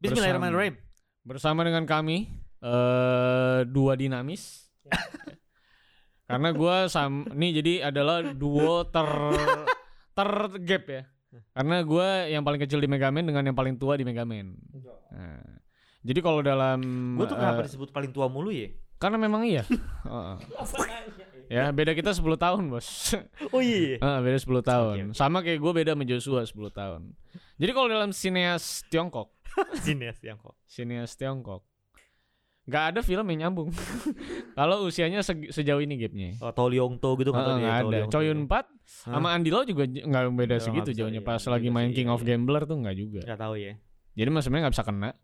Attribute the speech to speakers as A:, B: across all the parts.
A: Bismillahirrahmanirrahim.
B: Bersama dengan kami eh dua dinamis. Karena gua sam nih jadi adalah duo ter tergap ya. Karena gua yang paling kecil di Megaman dengan yang paling tua di Megaman. Nah, jadi kalau dalam
A: Gue tuh
B: eh,
A: kenapa disebut paling tua mulu ya?
B: karena memang iya. Heeh. ya, beda kita 10 tahun, Bos.
A: Oh iya.
B: Ah, beda 10 tahun. Sama kayak gue beda sama Joshua 10 tahun. Jadi kalau dalam sineas Tiongkok,
A: Sinias yang ya, kok.
B: sineas Tiongkok, nggak ada film yang nyambung. kalau usianya se- sejauh ini gapnya.
A: Oh, Tao Leong To gitu
B: Heeh,
A: tau dia, Tao
B: nggak Eh, ada.
A: Leong To. gitu.
B: Choi Yun Pat sama Andy Lau juga j- nggak beda
A: Nggak
B: segitu
A: bisa,
B: jauhnya.
A: iya.
B: Pas
A: Nggak
B: lagi
A: bisa,
B: main
A: iya,
B: King of
A: iya.
B: Gambler tuh nggak juga.
A: Nggak tahu ya.
B: Jadi mas sebenarnya nggak bisa kena.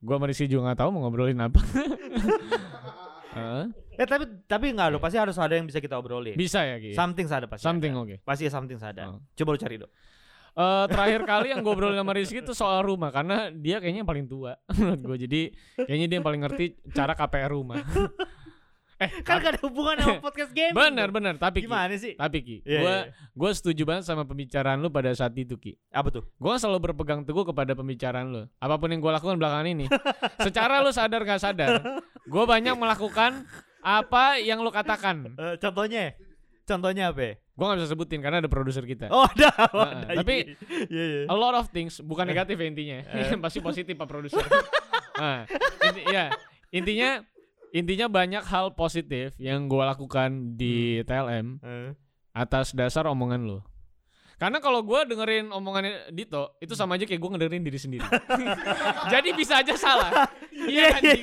B: gue sama Rizky juga nggak tahu mau ngobrolin apa. Heeh.
A: Eh tapi tapi nggak loh, pasti harus ada yang bisa kita obrolin.
B: Iya. bisa ya Ki?
A: Something ada pasti.
B: Something
A: ada.
B: oke.
A: Pasti ya something ada.
B: Oh.
A: Coba lu cari dong.
B: Eh, terakhir kali yang gue obrolin sama Rizky itu soal rumah karena dia kayaknya yang paling tua menurut gue jadi kayaknya dia yang paling ngerti cara KPR rumah eh
A: Kan gak ada hubungan sama podcast game.
B: bener bener tapi Ki
A: Gimana sih?
B: tapi Ki
A: Iya,
B: gue
A: iya.
B: gue setuju banget sama pembicaraan lu pada saat itu Ki
A: Apa tuh?
B: gue selalu berpegang teguh kepada pembicaraan lu apapun yang gue lakukan belakangan ini secara lu sadar gak sadar gue banyak melakukan apa yang lu katakan
A: Eh, contohnya? Contohnya apa? ya?
B: gue gak bisa sebutin karena ada produser kita
A: Oh, ada.
B: Heeh,
A: ada.
B: Eh. tapi Oh.
A: Iya, iya.
B: A lot of things, bukan negatif ya intinya.
A: Eh.
B: Pasti positif Pak produser. nah, inti- ya, intinya intinya banyak hal positif yang gua lakukan di TLM
A: Eh,
B: atas dasar omongan lo. Karena kalau gua dengerin omongannya Dito, itu sama aja kayak gua ngedengerin diri sendiri. Jadi bisa aja salah. Iya kan? Ji?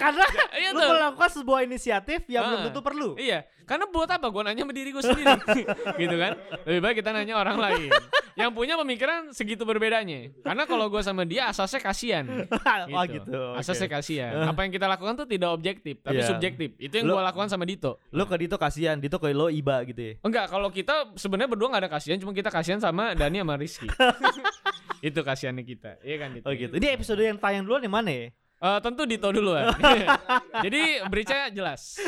A: Karena
B: Iya
A: lu
B: tuh.
A: melakukan sebuah inisiatif yang belum
B: Ah.
A: tentu perlu.
B: Iya, karena buat apa gue nanya sama diri gue sendiri, gitu kan? Lebih baik kita nanya orang lain yang punya pemikiran segitu berbedanya. Karena kalau gue sama dia asasnya kasihan,
A: oh gitu. oke. Eh.
B: Asasnya kasihan. Apa yang kita lakukan tuh tidak objektif, tapi
A: Iya.
B: subjektif. Itu yang
A: Lo-
B: gue lakukan sama Dito.
A: Lo ke Dito kasihan, Dito ke lo iba gitu ya.
B: Enggak, kalau kita sebenarnya berdua nggak ada kasihan, cuma kita kasihan sama Dani sama Rizky. itu kasihannya kita, iya kan Dito?
A: Oh gitu. Ini episode yang tayang duluan di mana ya?
B: Eh, tentu Dito duluan. Jadi berita jelas.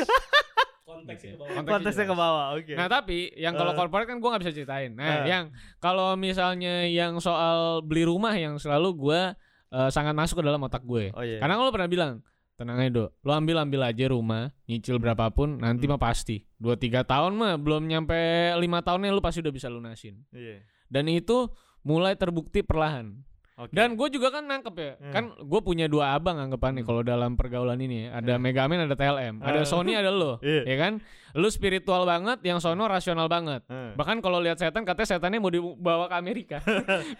C: konteks
B: Gitu ya.
C: ke bawah.
B: Konteksnya
A: Konteksnya ke
B: jelas.
A: bawah. Oke.
B: Nah tapi yang
A: Eh.
B: kalau korporat kan gua nggak bisa ceritain. Nah
A: Eh.
B: yang kalau misalnya yang soal beli rumah yang selalu gua eh, sangat masuk ke dalam otak gue.
A: Oh iya.
B: Karena lo pernah bilang tenang aja do, lo ambil ambil aja rumah, nyicil berapapun, nanti
A: Hmm.
B: mah pasti dua tiga tahun mah belum nyampe lima tahunnya lo pasti udah bisa lunasin.
A: Iya.
B: Dan itu mulai terbukti perlahan.
A: Oke.
B: Dan gue juga kan nangkep ya,
A: Hmm.
B: kan gue punya dua abang anggapannya kalau dalam pergaulan ini ya. Ada Megamin, ada TLM, ada
A: Eh.
B: Sony, ada lo,
A: Iya.
B: ya kan? Lo spiritual banget, yang Sono rasional banget.
A: Eh.
B: Bahkan kalau lihat setan katanya setannya mau dibawa ke Amerika.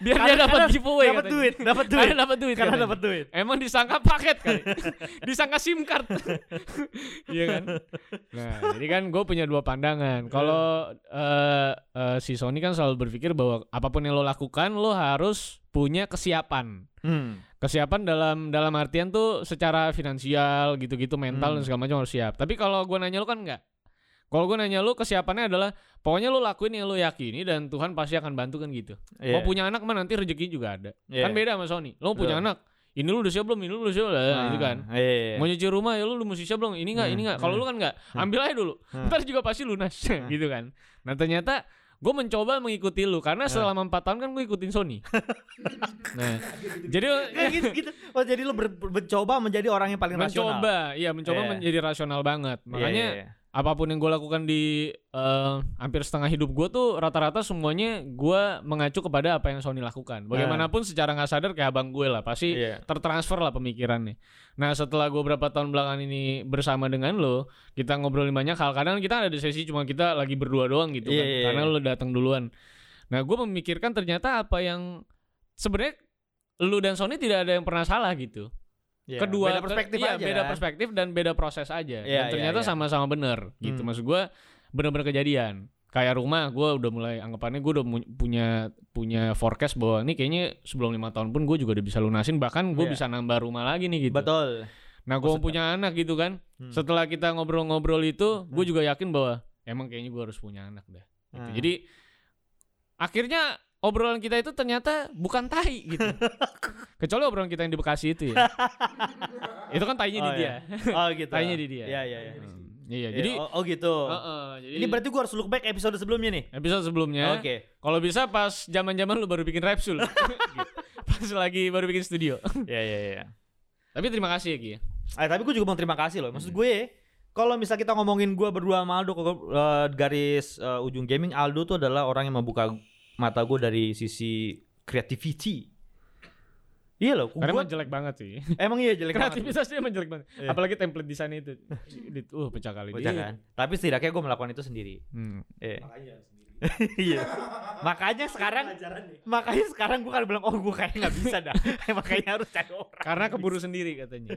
B: Biar dia
A: Karena-
B: dapat
A: karena
B: giveaway
A: dapat
B: katanya.
A: duit, dapat duit.
B: Karena dapat duit.
A: Karena
B: katanya.
A: dapat duit.
B: Emang disangka paket kali. disangka SIM card. Iya kan? Nah, jadi kan gue punya dua pandangan. Kalau eh, eh, si Sony kan selalu berpikir bahwa apapun yang lo lakukan lo harus punya kesiapan.
A: Hmm.
B: Kesiapan dalam dalam artian tuh secara finansial gitu-gitu mental dan
A: Hmm.
B: segala macam harus siap. Tapi kalau gue nanya lo kan enggak. Kalau gue nanya lo kesiapannya adalah pokoknya lo lakuin yang lo yakini dan Tuhan pasti akan bantu kan gitu. Mau punya anak mah nanti rezeki juga ada.
A: Iya.
B: Kan beda sama Sony. Lo punya
A: Betul.
B: anak, ini lu udah siap belum? Ini lu udah siap belum?
A: Ah,
B: gitu kan.
A: Iya. iya.
B: Mau nyuci rumah ya lu lu mesti siap belum? Ini enggak,
A: Hmm,
B: ini enggak. Kalau
A: hmm.
B: lu kan enggak,
A: Hmm.
B: ambil aja dulu.
A: Hmm.
B: Ntar juga pasti lunas gitu kan. Nah, ternyata gue mencoba mengikuti lu karena
A: Hmm.
B: selama empat tahun kan gue ikutin Sony. nah, jadi
A: Kan gitu, gitu. Oh jadi lo ber- ber- mencoba menjadi orang yang paling rasional.
B: mencoba, iya mencoba
A: Iya.
B: menjadi rasional banget.
A: Iya,
B: Makanya
A: iya, iya.
B: apapun yang gue lakukan di eh, hampir setengah hidup gue tuh rata-rata semuanya gue mengacu kepada apa yang Sony
A: Nah.
B: lakukan. Bagaimanapun secara nggak sadar kayak abang gue lah pasti
A: Iya.
B: tertransfer lah pemikirannya. Nah setelah gue berapa tahun belakangan ini bersama dengan lo, kita ngobrolin banyak hal. Kadang kita ada di sesi cuma kita lagi berdua doang gitu
A: Iya,
B: kan,
A: iya,
B: karena
A: iya.
B: lo datang duluan. Nah gue memikirkan ternyata apa yang sebenarnya lo dan Sony tidak ada yang pernah salah gitu
A: Iya.
B: kedua
A: beda perspektif
B: iya,
A: aja. kan.
B: beda perspektif dan beda proses aja
A: Iya,
B: dan
A: iya,
B: ternyata
A: iya.
B: sama-sama bener gitu
A: Hmm.
B: maksud gue bener-bener kejadian kayak rumah gue udah mulai anggapannya gue udah mu- punya punya forecast bahwa ini kayaknya sebelum lima tahun pun gue juga udah bisa lunasin bahkan gue
A: Iya.
B: bisa nambah rumah lagi nih gitu
A: Betul.
B: nah gue
A: Gua sedap.
B: punya anak gitu kan
A: Hmm.
B: setelah kita ngobrol-ngobrol itu gue
A: Hmm.
B: juga yakin bahwa emang kayaknya gue harus punya anak dah
A: Ah.
B: gitu. jadi akhirnya obrolan kita itu ternyata bukan tai gitu kecuali obrolan kita yang di Bekasi itu ya itu kan tainya di
A: Oh,
B: dia
A: iya. Oh gitu.
B: Tanya di dia.
A: Iya iya iya.
B: Hmm, Iya,
A: Iya,
B: jadi
A: oh, oh gitu.
B: Heeh, jadi
A: Ini berarti gua harus look back episode sebelumnya nih.
B: Ya. episode sebelumnya.
A: Oke.
B: Kalau bisa pas zaman-zaman lu baru bikin repsul. Gitu. pas lagi baru bikin studio.
A: Ya ya ya.
B: Tapi terima kasih ya Ki. ya.
A: Eh tapi gue juga mau terima kasih loh.
B: Hmm.
A: Maksud gue kalau misal kita ngomongin gue berdua sama Aldo kalau, eh, garis eh, ujung gaming Aldo tuh adalah orang yang membuka mata gue dari sisi creativity. Iya loh,
B: Karena
A: gua,
B: emang jelek banget sih.
A: emang iya jelek banget.
B: Kreativitasnya emang jelek banget.
A: Iya.
B: Apalagi template di sana itu. Edit, uh pecah kali
A: Bocah
B: dia.
A: kan. Tapi setidaknya gue melakukan itu sendiri.
B: Hmm.
A: Eh,
C: Makanya sendiri.
A: iya. Makanya sekarang
C: Pelajaran ya. nih.
A: makanya sekarang gue kan bilang oh gue kayaknya nggak bisa dah. makanya harus cari orang.
B: Karena keburu sendiri katanya.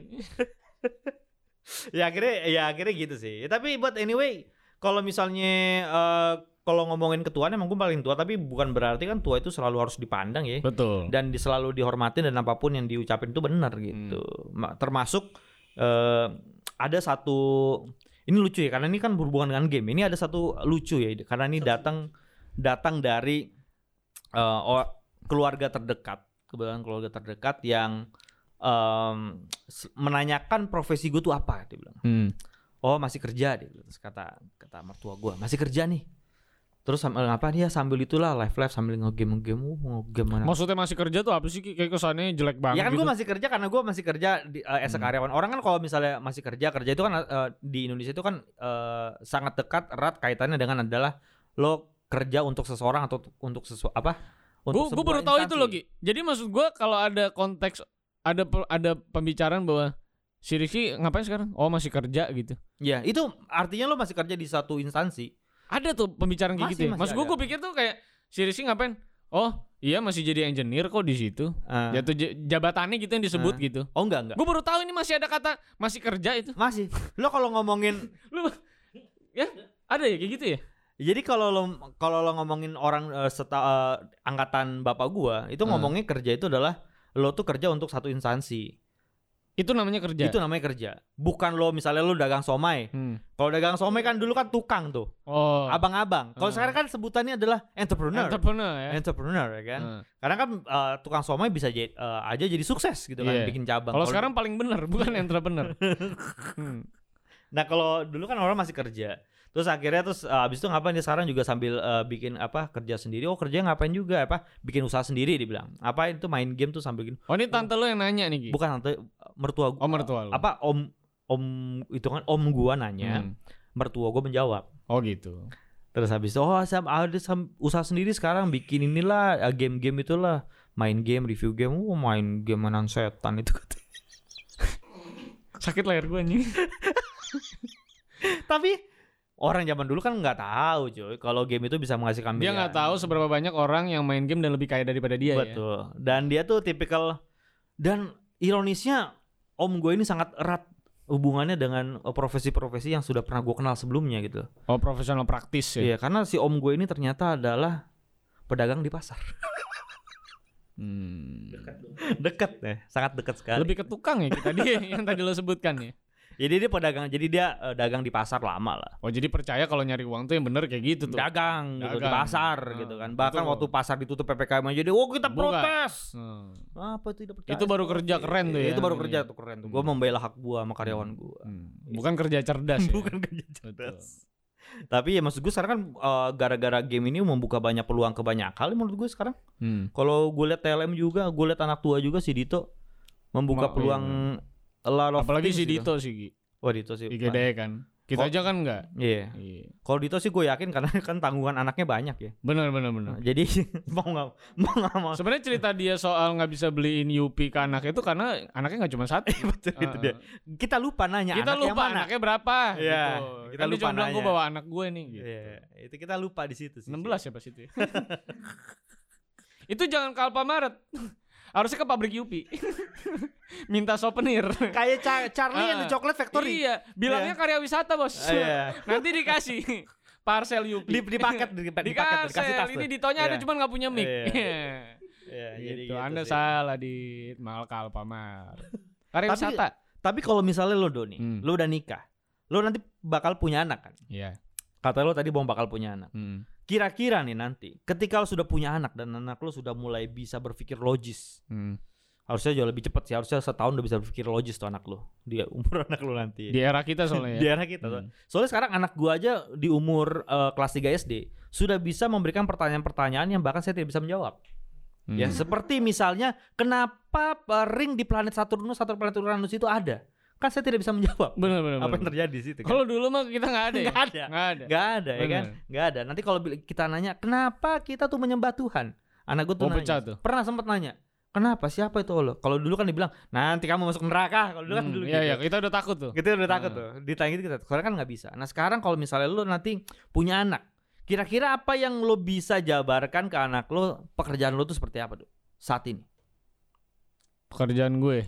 A: ya akhirnya ya akhirnya gitu sih Ya, tapi buat anyway kalau misalnya eh, kalau ngomongin ketuaan emang gue paling tua tapi bukan berarti kan tua itu selalu harus dipandang ya
B: Betul.
A: dan di- selalu dihormatin dan apapun yang diucapin itu benar gitu Ma- termasuk eh, ada satu ini lucu ya karena ini kan berhubungan dengan game ini ada satu lucu ya karena ini datang datang dari eh, o- keluarga terdekat kebetulan keluarga terdekat yang em, s- menanyakan profesi gue tuh apa dia bilang
B: Hmm.
A: Oh masih kerja dia bilang. terus kata kata mertua gua masih kerja nih terus sambil apa dia sambil itulah live live sambil ngegame ngegame uh, ngegame mana
B: Maksudnya masih kerja tuh apa sih Ki? kayak kesannya jelek
A: ya
B: banget
A: kan
B: gitu.
A: gua masih kerja karena gua masih kerja di, eh, as a
B: Hmm.
A: karyawan orang kan kalau misalnya masih kerja kerja itu kan eh, di Indonesia itu kan eh, sangat dekat erat kaitannya dengan adalah lo kerja untuk seseorang atau untuk sesuatu apa
B: Gue
A: untuk sebuah
B: baru tahu itu
A: instansi.
B: loh Ki. Jadi maksud gue kalau ada konteks ada per- ada pembicaraan bahwa si Riki ngapain sekarang? Oh masih kerja gitu.
A: ya itu artinya lo masih kerja di satu instansi
B: Ada tuh pembicaraan kayak
A: Masih,
B: gitu. Ya.
A: masih
B: Maksud gue
A: ada.
B: gue pikir tuh kayak si Riki ngapain? Oh iya masih jadi engineer kok di situ.
A: Eh,
B: Jatuh j- jabatannya gitu yang disebut
A: Ah.
B: gitu.
A: oh enggak enggak
B: Gue baru tahu ini masih ada kata masih kerja itu.
A: masih lo kalau ngomongin
B: Lu ya ada ya kayak gitu ya?
A: Jadi kalau lo kalau lo ngomongin orang eh, seta- eh, angkatan bapak gua itu
B: Hmm.
A: ngomongnya kerja itu adalah lo tuh kerja untuk satu instansi.
B: Itu namanya kerja.
A: Itu namanya kerja. Bukan lo misalnya lo dagang somai.
B: Hmm.
A: Kalau dagang somai kan dulu kan tukang tuh,
B: Oh.
A: abang-abang. Kalau
B: Hmm.
A: sekarang kan sebutannya adalah entrepreneur.
B: Entrepreneur ya.
A: entrepreneur ya kan.
B: Hmm.
A: Karena kan eh, tukang somai bisa jadi, eh, aja jadi sukses gitu kan
B: Iya.
A: bikin cabang.
B: Kalau
A: Kalau-
B: sekarang paling bener bukan entrepreneur. Hmm.
A: Nah kalau dulu kan orang masih kerja. Terus akhirnya terus eh, abis itu ngapain dia sekarang juga sambil eh, bikin apa kerja sendiri. Oh kerja ngapain juga apa bikin usaha sendiri dibilang. Apa itu main game tuh sambil gini.
B: Oh ini tante lu yang nanya nih Ki.
A: Bukan nanti mertua gua.
B: Oh mertua lu.
A: Apa om om itu kan om gua nanya,
B: Hmm.
A: mertua gua menjawab.
B: Oh gitu.
A: Terus habis itu oh sam ada sam- usaha sendiri sekarang bikin inilah eh, game-game itulah main game review game oh main game mainan setan itu katanya.
B: Sakit leher gue anjing.
A: tapi orang zaman dulu kan nggak tahu cuy kalau game itu bisa menghasilkan
B: Dia
A: miliaran.
B: nggak tahu seberapa banyak orang yang main game dan lebih kaya daripada dia ya.
A: Betul. Dan dia tuh tipikal dan ironisnya om gue ini sangat erat hubungannya dengan eh, profesi-profesi yang sudah pernah gue kenal sebelumnya gitu.
B: Oh profesional praktis ya.
A: Iya, karena si om gue ini ternyata adalah pedagang di pasar.
B: Hmm.
C: Dekat dong.
A: dekat
B: eh,
A: ya, sangat dekat sekali.
B: Lebih ke tukang ya kita dia yang tadi lo sebutkan ya.
A: Jadi dia pedagang, jadi dia eh, dagang di pasar lama lah.
B: Oh jadi percaya kalau nyari uang tuh yang bener kayak gitu tuh.
A: Dagang, gitu di
B: Dagang.
A: pasar
B: Ah,
A: gitu kan. Bahkan
B: betul.
A: waktu pasar ditutup PPKM aja dia, "Oh, kita
B: Buka.
A: protes."
B: Hmm.
A: Apa itu tidak
B: Itu baru kerja keren tuh ya, Hmm.
A: Itu baru
B: namanya.
A: kerja tuh keren tuh. Gua membela hak gua sama karyawan gua.
B: Hmm. Bukan kerja cerdas ya.
A: Bukan kerja
B: Betul.
A: cerdas. Tapi ya maksud gue sekarang kan eh, gara-gara game ini membuka banyak peluang ke banyak hal ya menurut gue sekarang.
B: Hmm.
A: Kalau gue liat TLM juga, gue liat anak tua juga si Dito membuka
B: Ma- iya.
A: peluang a lot of
B: Apalagi
A: things
B: si
A: gitu.
B: Dito sih Ki.
A: Wah Dito sih.
B: IGD
A: Iya.
B: kan. Kita
A: Kok-
B: aja kan enggak. Iya.
A: Kalau Dito sih gue yakin karena kan tanggungan anaknya banyak ya.
B: Benar benar benar.
A: Nah, Jadi mau nggak mau nggak mau.
B: Sebenarnya cerita dia soal nggak bisa beliin Yupi ke anaknya itu karena anaknya nggak cuma satu.
A: Betul itu Gitu dia. Eh, Kita lupa nanya
B: kita
A: anak
B: lupa
A: yang mana.
B: anaknya berapa
A: Iya,
B: gitu.
A: kita
B: Kan dia
A: lupa
B: cuma bilang, gue
A: nanya.
B: bawa anak gue nih gitu.
A: Iya, itu kita lupa di situ sih.
B: 16 ya pas itu ya. itu jangan ke Alfamaret harusnya ke pabrik Yupi minta souvenir
A: Kayak Cha- Charlie and the
B: Ah,
A: Chocolate Factory.
B: iya bilangnya karya wisata bos
A: Ah, iya.
B: nanti dikasih parcel Yupi
A: Di, di paket di, di paket
B: dikasih
A: dikasih tas.
B: ini
A: tuh.
B: ditonya ada
A: Iya.
B: cuman nggak punya mic
A: Iya.
B: Iya.
A: Iya, jadi
B: gitu, anda
A: sih.
B: salah di mal ke Alfamaret karya
A: Tapi-
B: wisata
A: Tapi kalau misalnya lo Doni,
B: Hmm.
A: lo udah nikah, lo nanti bakal punya anak kan?
B: iya
A: Kata lo tadi bang bakal punya anak.
B: Hmm.
A: Kira-kira nih nanti, ketika lo sudah punya anak dan anak lo sudah mulai bisa berpikir logis,
B: Hmm.
A: harusnya jauh lebih cepat sih. Harusnya setahun udah bisa berpikir logis tuh anak lo, dia umur anak lo nanti.
B: di era kita soalnya
A: Di
B: ya.
A: anak kita.
B: Hmm.
A: Soalnya sekarang anak gua aja di umur eh, kelas 3 SD sudah bisa memberikan pertanyaan-pertanyaan yang bahkan saya tidak bisa menjawab.
B: Hmm.
A: Ya, seperti misalnya kenapa eh, ring di planet Saturnus atau planet Uranus itu ada? Kan saya tidak bisa menjawab
B: benar benar.
A: apa yang terjadi di situ. kan?
B: Kalau dulu mah kita nggak ada ya.
A: Nggak ada.
B: Nggak ada.
A: Nggak ada ya kan? Nggak ada. Nanti kalau bila- kita nanya, kenapa kita tuh menyembah Tuhan? Anak gue tuh
B: Oh,
A: nanya.
B: pecah tuh.
A: Pernah sempat nanya, kenapa siapa itu Allah? Kalau dulu kan dibilang, nanti kamu masuk neraka. Kalau dulu kan
B: Hmm,
A: dulu
B: Iya
A: gitu.
B: iya kita udah takut tuh.
A: Gitu udah takut
B: Ah.
A: tuh. Ditanya gitu kita, soalnya kan nggak bisa. Nah sekarang kalau misalnya lu nanti punya anak, kira-kira apa yang lo bisa jabarkan ke anak lo pekerjaan lo tuh seperti apa tuh saat ini?
B: Pekerjaan gue.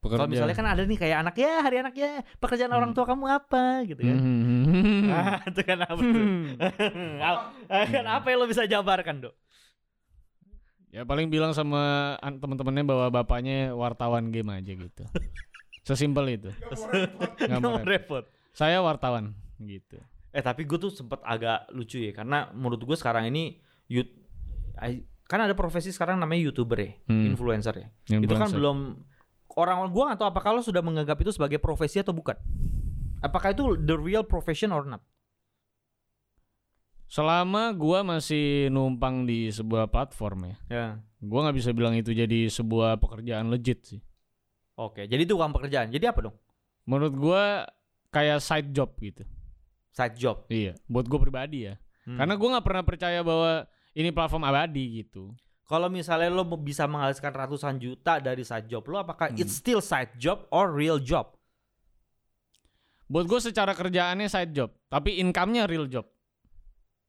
B: Pekerjaan.
A: Kalau misalnya kan ada nih kayak anak ya hari anak ya pekerjaan orang
B: Hmm.
A: tua kamu apa gitu kan? Ah, itu kan apa tuh? Al- kan apa yang lo bisa jabarkan dok?
B: Ya paling bilang sama an- teman-temannya bahwa bapaknya wartawan game aja gitu. Sesimpel itu. Nggak mau
A: Nggak
B: repot.
A: repot.
B: Saya wartawan gitu.
A: Eh tapi gue tuh sempet agak lucu ya karena menurut gue sekarang ini yut I- kan ada profesi sekarang namanya youtuber ya,
B: Hmm.
A: influencer ya. Itu kan belum orang-orang gue atau apakah lo sudah menganggap itu sebagai profesi atau bukan? Apakah itu the real profession or not?
B: Selama gua masih numpang di sebuah platform ya,
A: Ya.
B: gua nggak bisa bilang itu jadi sebuah pekerjaan legit sih.
A: Oke, jadi itu bukan pekerjaan. Jadi apa dong?
B: Menurut gua kayak side job gitu.
A: Side job.
B: Iya, buat gua pribadi ya.
A: Hmm.
B: Karena gua nggak pernah percaya bahwa ini platform abadi gitu.
A: kalau misalnya lo mau- bisa menghabiskan ratusan juta dari side job lo, apakah
B: Hmm.
A: it's still side job or real job?
B: Buat gua secara kerjaannya side job, tapi income-nya real job.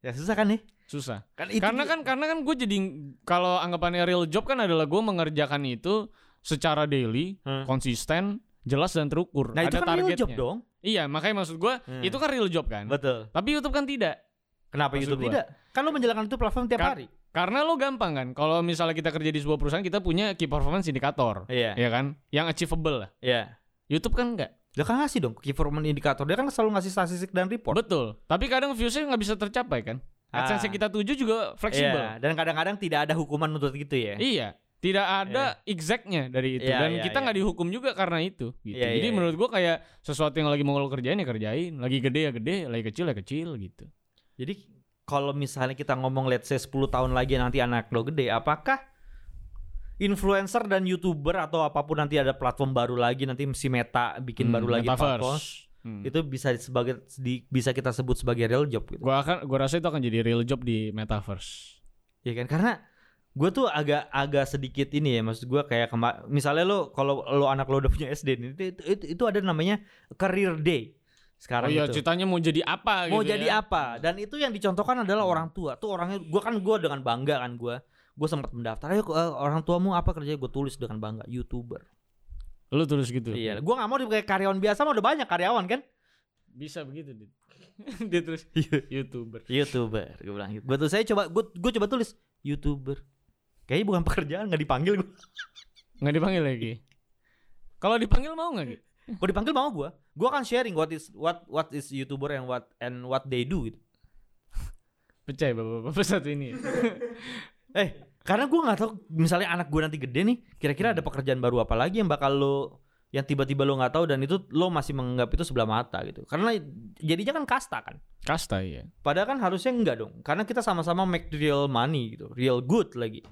A: Ya susah kan nih?
B: Susah.
A: Kan itu dia-
B: karena kan karena kan gue jadi kalau anggapannya real job kan adalah gue mengerjakan itu secara daily,
A: Hmm.
B: konsisten, jelas dan terukur.
A: Nah, itu
B: Ada
A: kan real job dong.
B: Iya, makanya maksud gue
A: Hmm.
B: itu kan real job kan.
A: Betul.
B: Tapi YouTube kan tidak.
A: Kenapa
B: Maksud
A: YouTube
B: gua.
A: tidak? Kan lo menjalankan itu platform tiap
B: Kan-
A: hari.
B: Karena lo gampang kan. Kalau misalnya kita kerja di sebuah perusahaan kita punya key performance indikator.
A: Iya.
B: Iya kan? Yang achievable lah.
A: Iya.
B: YouTube kan enggak.
A: Dia kan ngasih dong key performance indikator. Dia kan selalu ngasih statistik dan report.
B: Betul. Tapi kadang views-nya nggak bisa tercapai kan.
A: Ah.
B: AdSense yang kita tuju juga
A: Iya,
B: fleksibel.
A: dan kadang-kadang tidak ada hukuman untuk gitu ya.
B: Iya, tidak ada exact-nya dari itu
A: Iya,
B: dan
A: iya,
B: kita
A: iya.
B: nggak dihukum juga karena itu. Gitu.
A: Iya,
B: Jadi
A: iya,
B: menurut gua kayak sesuatu yang lagi mau lo kerjain ya kerjain, lagi gede ya gede, lagi kecil ya kecil gitu.
A: Jadi kalau misalnya kita ngomong let's say 10 tahun lagi nanti anak lo gede, apakah influencer dan youtuber atau apapun nanti ada platform baru lagi nanti si Meta bikin
B: Hmm,
A: baru lagi
B: metaverse.
A: platform
B: Hmm.
A: itu bisa sebagai di- bisa kita sebut sebagai real job gitu.
B: Gua akan gua rasa itu akan jadi real job di metaverse.
A: Ya kan karena gue tuh agak agak sedikit ini ya maksud gue kayak kema- misalnya lo kalau lo anak lo udah punya SD nih, itu, itu, itu- itu ada namanya career day
B: Oh
A: sekarang
B: iya,
A: itu.
B: ceritanya mau jadi apa
A: mau
B: gitu
A: jadi
B: ya.
A: apa dan itu yang dicontohkan adalah orang tua tuh orangnya gua kan gua dengan bangga kan gua gua sempat mendaftar ayo eh, orang tuamu apa kerja gua tulis dengan bangga youtuber
B: Lu tulis gitu.
A: iya gua nggak mau dipakai karyawan biasa mau udah banyak karyawan kan
B: Bisa begitu, Dit. Dia tulis YouTuber.
A: youtuber gua bilang gitu. gua tuh saya coba gua, gua coba tulis youtuber kayaknya bukan pekerjaan nggak dipanggil gua
B: Nggak dipanggil lagi. Kalau dipanggil mau nggak? Gitu?
A: kalau dipanggil mau gua gua akan sharing what is what what is youtuber and what and what they do gitu.
B: Percaya ya, bapak-bapak satu ini.
A: Eh, karena gue nggak tahu misalnya anak gue nanti gede nih, kira-kira
B: Hmm.
A: ada pekerjaan baru apa lagi yang bakal lo yang tiba-tiba lo nggak tahu dan itu lo masih menganggap itu sebelah mata gitu. Karena jadinya kan kasta kan.
B: Kasta ya.
A: Padahal kan harusnya enggak dong. Karena kita sama-sama make real money gitu, real good lagi.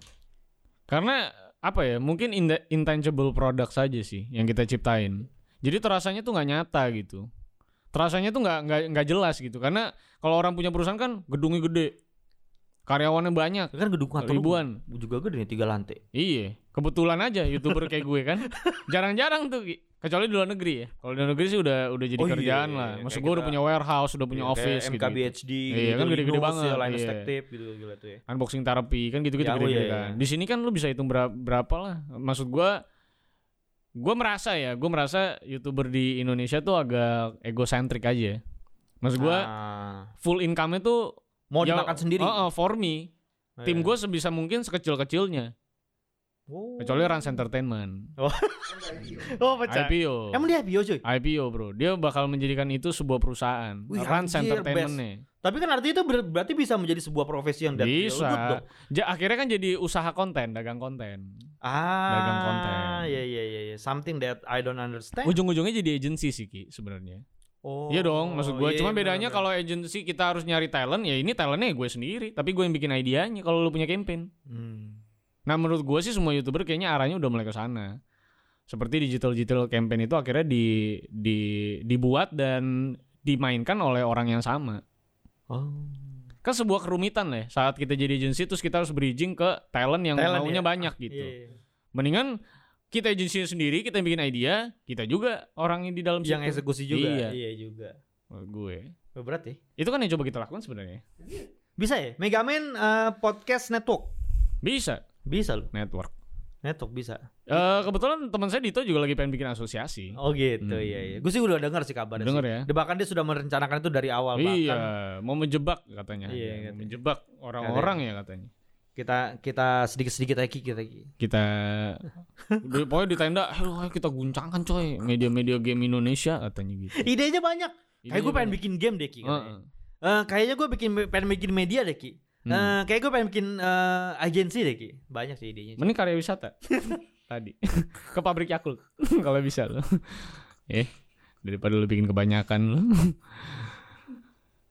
B: Karena apa ya? Mungkin in- intangible product saja sih yang kita ciptain. Jadi terasanya tuh nggak nyata gitu. Terasanya tuh nggak nggak nggak jelas gitu. Karena kalau orang punya perusahaan kan gedungnya gede, karyawannya banyak,
A: Kan gedung kantor lu
B: ribuan.
A: juga gede nih tiga lantai.
B: Iya. Kebetulan aja youtuber kayak gue kan, jarang-jarang tuh. Ki. Kecuali di luar negeri ya. Kalau di luar negeri sih udah udah jadi
A: Oh iya,
B: kerjaan
A: iya,
B: lah.
A: iya.
B: Maksud
A: Kayak
B: gue udah
A: kita-
B: punya warehouse, udah punya
A: Iya,
B: office
A: kayak
B: gitu.
A: MKBHD
B: Iya, kan gede-gede
A: Linus,
B: banget,
A: ya, Linus
B: iya.
A: Tech Tip gitu gila tuh ya.
B: Unboxing therapy kan
A: Ya,
B: gitu-gitu
A: oh
B: gede-gede
A: iya,
B: kan.
A: iya.
B: Di sini kan lu bisa hitung berapa, berapa lah. Maksud gua gua merasa ya, gua merasa YouTuber di Indonesia tuh agak egosentrik aja. Maksud gua
A: Ah,
B: full income-nya tuh
A: mau
B: ya-
A: dimakan sendiri.
B: Oh, oh, for me.
A: Iya,
B: Tim gua sebisa mungkin sekecil-kecilnya.
A: Oh.
B: Kecuali Rans Entertainment.
A: Oh, pecah.
B: IPO.
A: Emang dia IPO cuy.
B: IPO, Bro. Dia bakal menjadikan itu sebuah perusahaan.
A: Wih,
B: Rans
A: anjir,
B: Entertainment-nya.
A: Tapi kan artinya itu ber- berarti bisa menjadi sebuah profesi yang that real
B: Bisa.
A: good dong.
B: Ja- akhirnya kan jadi usaha konten, dagang konten.
A: Ah,
B: Dagang konten.
A: Iya iya iya iya. something that I don't understand.
B: Ujung-ujungnya jadi agensi sih, Ki, sebenarnya.
A: Oh.
B: Iya dong, maksud gue.
A: iya,
B: Cuma
A: iya,
B: bedanya
A: benar-benar.
B: kalau agency kita harus nyari talent, ya ini talentnya gue sendiri. Tapi gue yang bikin idenya kalau lu punya campaign.
A: Hmm.
B: Nah menurut gue sih semua youtuber kayaknya arahnya udah mulai ke sana. Seperti digital digital campaign itu akhirnya di, di dibuat dan dimainkan oleh orang yang sama.
A: Oh.
B: Kan sebuah kerumitan lah ya, saat kita jadi agensi terus kita harus bridging ke talent yang
A: Talent
B: maunya
A: ya?
B: banyak gitu. Mendingan kita agensi sendiri, kita bikin idea, kita juga orang yang di dalam
A: Yang
B: situ.
A: eksekusi juga.
B: Iya.
A: juga.
B: Menurut gue.
A: Oh, Berat ya.
B: Itu kan yang coba kita lakukan sebenarnya.
A: Bisa ya? Megaman eh, podcast network.
B: Bisa
A: Bisa loh.
B: network.
A: Network bisa.
B: Eh kebetulan teman saya Dito juga lagi pengen bikin asosiasi.
A: Oh gitu,
B: Hmm.
A: iya iya. Gue sih udah dengar sih kabarnya.
B: Dengar
A: sih.
B: ya.
A: Dia- Bahkan dia sudah merencanakan itu dari awal
B: iya,
A: bahkan
B: mau menjebak katanya.
A: Iya,
B: Dia
A: katanya.
B: mau menjebak orang-orang ya katanya.
A: kita kita sedikit-sedikit lagi kita
B: Kita di- pokoknya di tenda, "Ayo, ayo kita guncangkan coy media-media game Indonesia katanya gitu.
A: Idenya banyak. Kayak gue pengen
B: Ide-
A: bikin game deh Ki.
B: Iya Heeh.
A: katanya. Eh, kayaknya gue bikin pengen bikin media deh Ki. Eh,
B: Hmm.
A: kayak gue pengen bikin eh, agensi deh Ki. Banyak sih idenya.
B: Mending karya wisata tadi ke pabrik Yakult kalau bisa lo. eh, daripada lu bikin kebanyakan lu.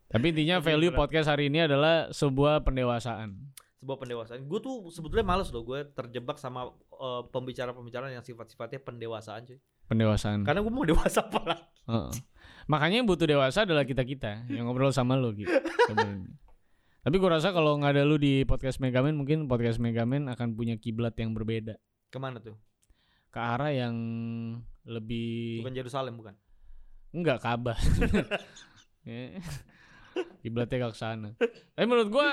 B: Tapi intinya value podcast hari ini adalah sebuah pendewasaan.
A: Sebuah pendewasaan. Gue tuh sebetulnya males loh gue terjebak sama eh, pembicara-pembicaraan yang sifat-sifatnya pendewasaan cuy.
B: Hmm. Pendewasaan.
A: Karena gue mau dewasa apa lagi?
B: Heeh. Makanya yang butuh dewasa adalah kita kita yang ngobrol sama lo gitu. sebenarnya. Tapi gue rasa kalau nggak ada lu di podcast Megaman mungkin podcast Megaman akan punya kiblat yang berbeda
A: Kemana tuh?
B: ke arah yang lebih
A: Bukan Yerusalem bukan?
B: enggak kabar. Ya. Kiblatnya gak kesana. Tapi menurut gue,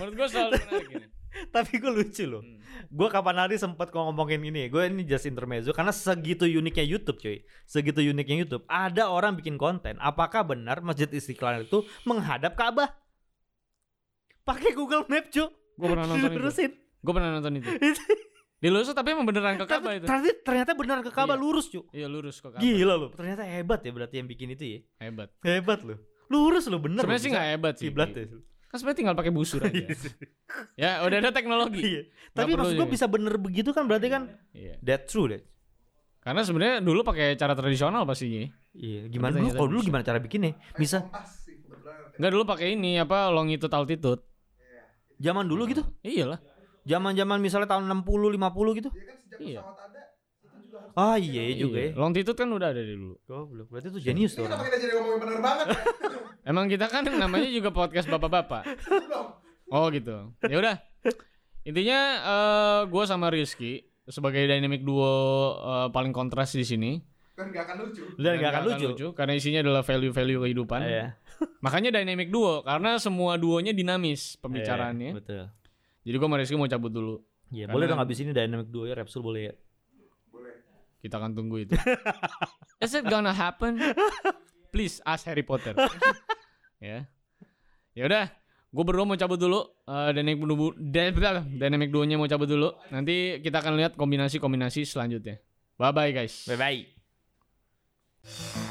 B: menurut gue selalu menarik ini.
A: Tapi gue lucu loh.
B: Hmm.
A: Gue kapan hari sempet kok ngomongin ini. Gue ini just intermezzo karena segitu uniknya YouTube, cuy. Segitu uniknya YouTube. Ada orang bikin konten. Apakah benar Masjid Istiqlal itu menghadap Ka'bah? Pakai Google Map, cuy.
B: Gue pernah nonton itu.
A: Lurusin.
B: Gue pernah nonton itu. Di lurus tapi emang beneran ke Ka'bah
A: Tapi
B: itu.
A: ternyata, ternyata benar ke Ka'bah
B: Iya.
A: lurus, cuy.
B: Iya lurus ke Ka'bah.
A: Gila loh. Ternyata hebat ya berarti yang bikin itu ya.
B: Hebat.
A: Hebat loh. Lurus loh bener.
B: Sebenarnya sih nggak hebat sih.
A: Kiblat ya.
B: Kan sebenarnya tinggal pakai busur aja. ya, udah ada teknologi.
A: Iya. Tapi
B: perlu
A: maksud gue
B: juga.
A: bisa bener begitu kan berarti kan
B: Iya.
A: that true deh.
B: Karena sebenarnya dulu pakai cara tradisional pastinya.
A: Iya, gimana
B: Tapi
A: dulu
B: ternyata
A: kalau dulu
B: bisa.
A: gimana cara bikinnya? Bisa
B: Enggak dulu pakai ini apa longitude altitude.
A: zaman dulu gitu?
B: Iyalah.
A: Zaman-zaman misalnya tahun 60 50 gitu.
B: Iya.
A: Ah iya juga ya.
B: Iya. Longitude kan udah ada dari dulu.
A: Goblok. Berarti itu jenius tuh orang.
C: Kenapa kita jadi ngomongin penerbangan? ya?
B: Emang kita kan namanya juga podcast bapak-bapak. Oh gitu. Ya udah. Intinya eh gue sama Rizky sebagai dynamic duo eh, paling kontras di sini.
C: Kan nggak akan lucu.
A: Dan gak akan lucu.
B: karena isinya adalah value-value kehidupan.
A: Iya.
B: Makanya dynamic duo karena semua duonya dinamis
A: Iya,
B: pembicaraannya.
A: Betul.
B: Jadi gue sama Rizky mau cabut dulu.
A: Iya, boleh
B: Karena- kan
A: dong abis ini dynamic duo ya Repsol boleh ya.
B: Kita akan tunggu itu. Is it gonna happen? Please ask Harry Potter. ya. Ya udah, gue berdua mau cabut dulu. Eh, dynamic duo dynamic duonya mau cabut dulu. Nanti kita akan lihat kombinasi-kombinasi selanjutnya. Bye bye guys.
A: Bye bye.